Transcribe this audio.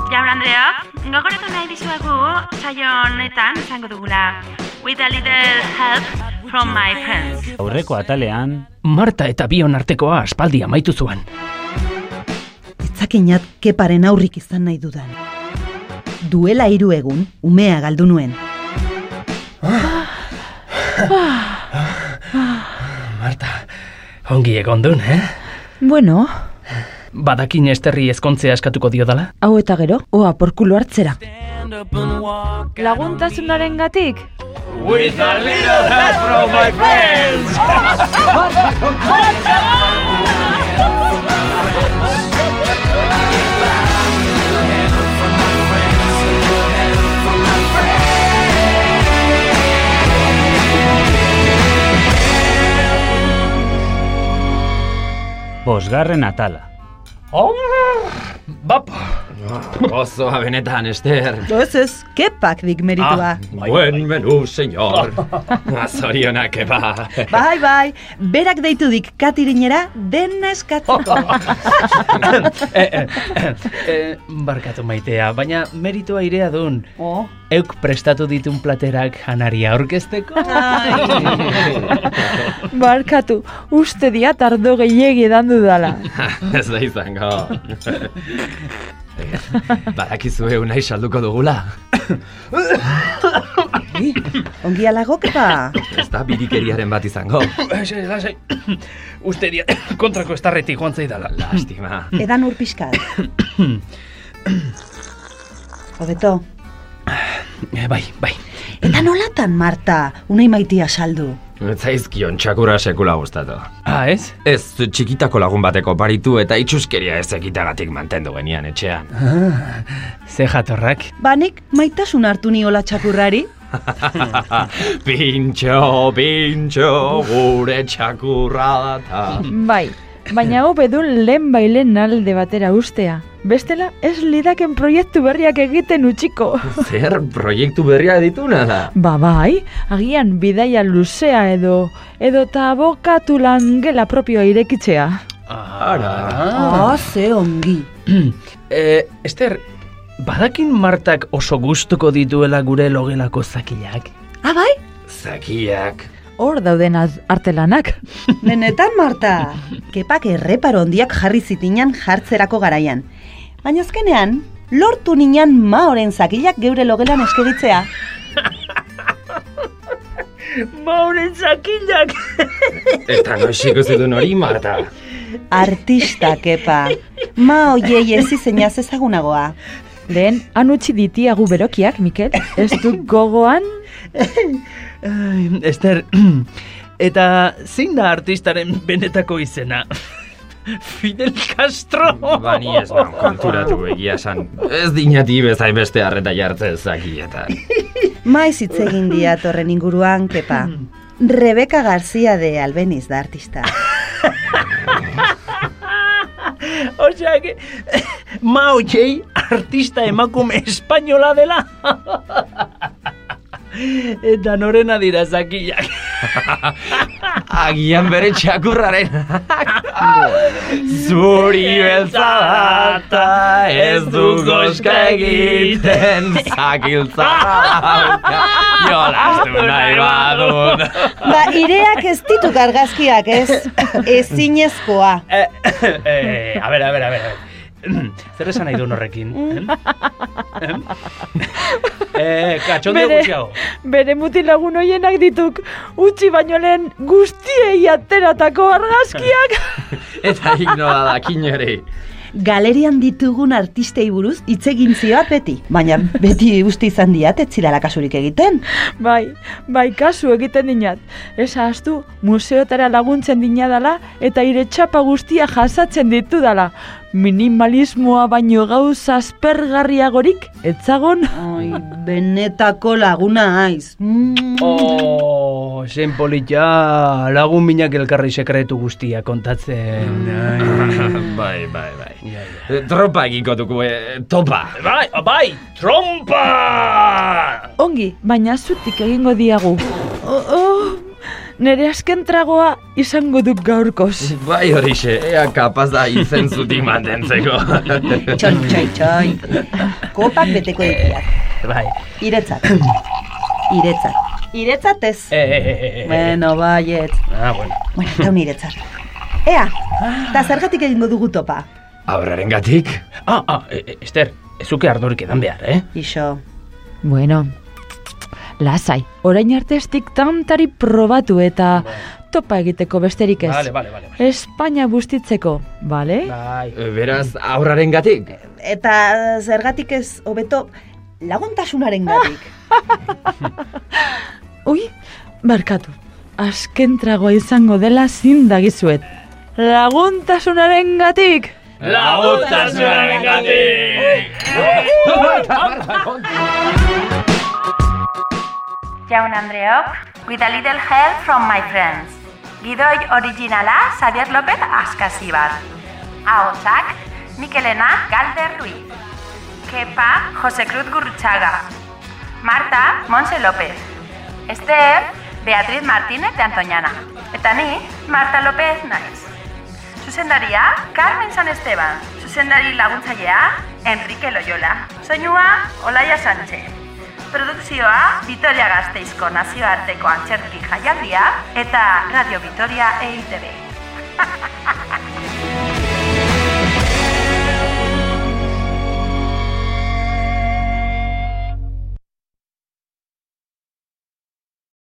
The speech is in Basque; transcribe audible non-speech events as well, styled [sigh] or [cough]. entzulea, gogoratu nahi dizuagu saio honetan izango dugula With a little help from my friends. Aurreko atalean, Marta eta bion artekoa aspaldi amaitu zuan. Itzakinat keparen aurrik izan nahi dudan. Duela hiru egun, umea galdu nuen. Marta, ongi egon dun, eh? Bueno, Badakin esterri ezkontzea eskatuko diodala? hau eta gero, oa porkulo hartzera. Laguntasunaren gatik? bosgarren atala. Oh, bap! Gozoa benetan, Ester. Ez ez, kepak dik Ah, meritua. Buen menú, señor. Azorionak eba. Bai, bai, berak deitu dik katirinera dena eskatzeko. [laughs] eh, eh, eh, eh, barkatu maitea, baina meritua irea dun. Oh. Euk prestatu ditun platerak janaria aurkezteko? [laughs] Barkatu, uste dia tardo gehiegi edan dudala. Ez da izango. Badakizue unai salduko dugula. Ongi alago, kepa. Ez da birikeriaren bat izango. Lasai, lasai. Uste dia [coughs] kontrako estarretik joan zaidala. Lastima. Edan [coughs] urpiskat. Hobeto, Eh, bai, bai. eta nolatan, Marta, unai maitia saldu. Zaizkion txakura sekula gustatu. Ah, ez? Ez txikitako lagun bateko paritu eta itxuskeria ez ekitagatik mantendu genian etxean. Ze jatorrak. Banik Ba, maitasun hartu niola txakurrari? pintxo, pintxo, gure txakurra data. Bai, baina hau bedun lehen bailen alde batera ustea. Bestela, ez lidaken proiektu berriak egiten utxiko. Zer proiektu berria dituna da? Ba bai, agian bidaia luzea edo, edo ta abokatu langela propioa irekitzea. Ara. Ah, ze ongi. [clears throat] Eh, Ester, badakin Martak oso gustuko dituela gure logelako zakilak? Ah, bai? Zakiak. Hor dauden az- artelanak. Benetan, Marta. Kepak erreparo ondiak jarri zitinan jartzerako garaian. Baina azkenean, lortu ninan maoren zakilak geure logelan eskeritzea. Mauren zakilak! Eta noiz ikusi duen hori, Marta. Artista, kepa. Ma hoiei ez izenaz ezagunagoa. Lehen, han utzi ditiagu berokiak, Mikel, ez du gogoan Ai, Ester, [clears throat] eta zein da artistaren benetako izena? [laughs] Fidel Castro! Ba, ni ez [laughs] nago konturatu egia esan. Ez dinati bezain beste harreta jartzen zakietan. Maiz hitz egin diat horren inguruan, kepa. Rebeka García de Albeniz da artista. Osea, que... [laughs] Mao Jai, artista emakume espainola dela! [laughs] Eta norena dira zakilak. Agian bere txakurraren Zuri beltzadata ez du goska egiten zakiltzadata Jolastu nahi badun Ba, ireak ez ditut argazkiak, ez? Ezinezkoa. Eh, [laughs] eh, a ber, a ber, a ber. a ber. [clears throat] Zer esan nahi duen horrekin? Em? Em? [laughs] eh, katxonde Bere- gutxiago. [laughs] bere mutilagun hoienak dituk, utzi baino lehen guztiei ateratako argazkiak. Eta ignoa dakin ere Galerian ditugun artistei buruz hitz egin zioat beti, baina beti uste izan diat ez zidala kasurik egiten. [laughs] bai, bai kasu egiten dinat. Ez ahaztu, museotara laguntzen dinadala eta ire txapa guztia jasatzen ditudala. Minimalismoa baino gauza aspergarriagorik, etzagon. [laughs] Ai, benetako laguna aiz. Oh, zen polita, lagun minak elkarri sekretu guztia kontatzen. [laughs] Bai, bai, bai Tropa egingo dugu, eh, topa Bai, bai, trompa! Ongi, baina zutik egingo diagu. Oh, oh, nere azken tragoa izango duk gaurkoz. Bai horixe, ea kapaz da izen zutik mantentzeko. Txoin, txoin, txoin. Kopak beteko dituak. Bai. Iretzat. Iretzat. Iretzat ez. E, e, e, e, e. Bueno, bai, baiet. Ah, bueno. Bueno, eta niretzat. Ea, eta zergatik egingo dugu topa. Abraren gatik? Ah, ah, e, e, Ester, ezuke ardorik edan behar, eh? Iso, Bueno, lasai, orain arte estik tantari probatu eta topa egiteko besterik ez. Vale, vale, vale. vale. Espainia bustitzeko, bale? Bai. Beraz, aurraren gatik? Eta zergatik ez hobeto laguntasunaren gatik. Ui, barkatu. Azken tragoa izango dela zindagizuet. Laguntasunaren gatik! Laguntasunaren gatik! Jaun Andreok, with a little help from my friends. Gidoi originala Xavier López Askasibar. Ahotsak, Mikelena Galder Ruiz. Kepa Jose Cruz Gurruchaga. Marta Monse López. Esther Beatriz Martínez de Antoñana. Eta ni Marta López naiz. Zuzendaria Carmen San Esteban. Zuzendari laguntzailea Enrique Loyola. Soinua Olaia Sánchez. Produkzioa Vitoria Gasteizko nazioarteko antzerki jaialdia eta Radio Vitoria EITB.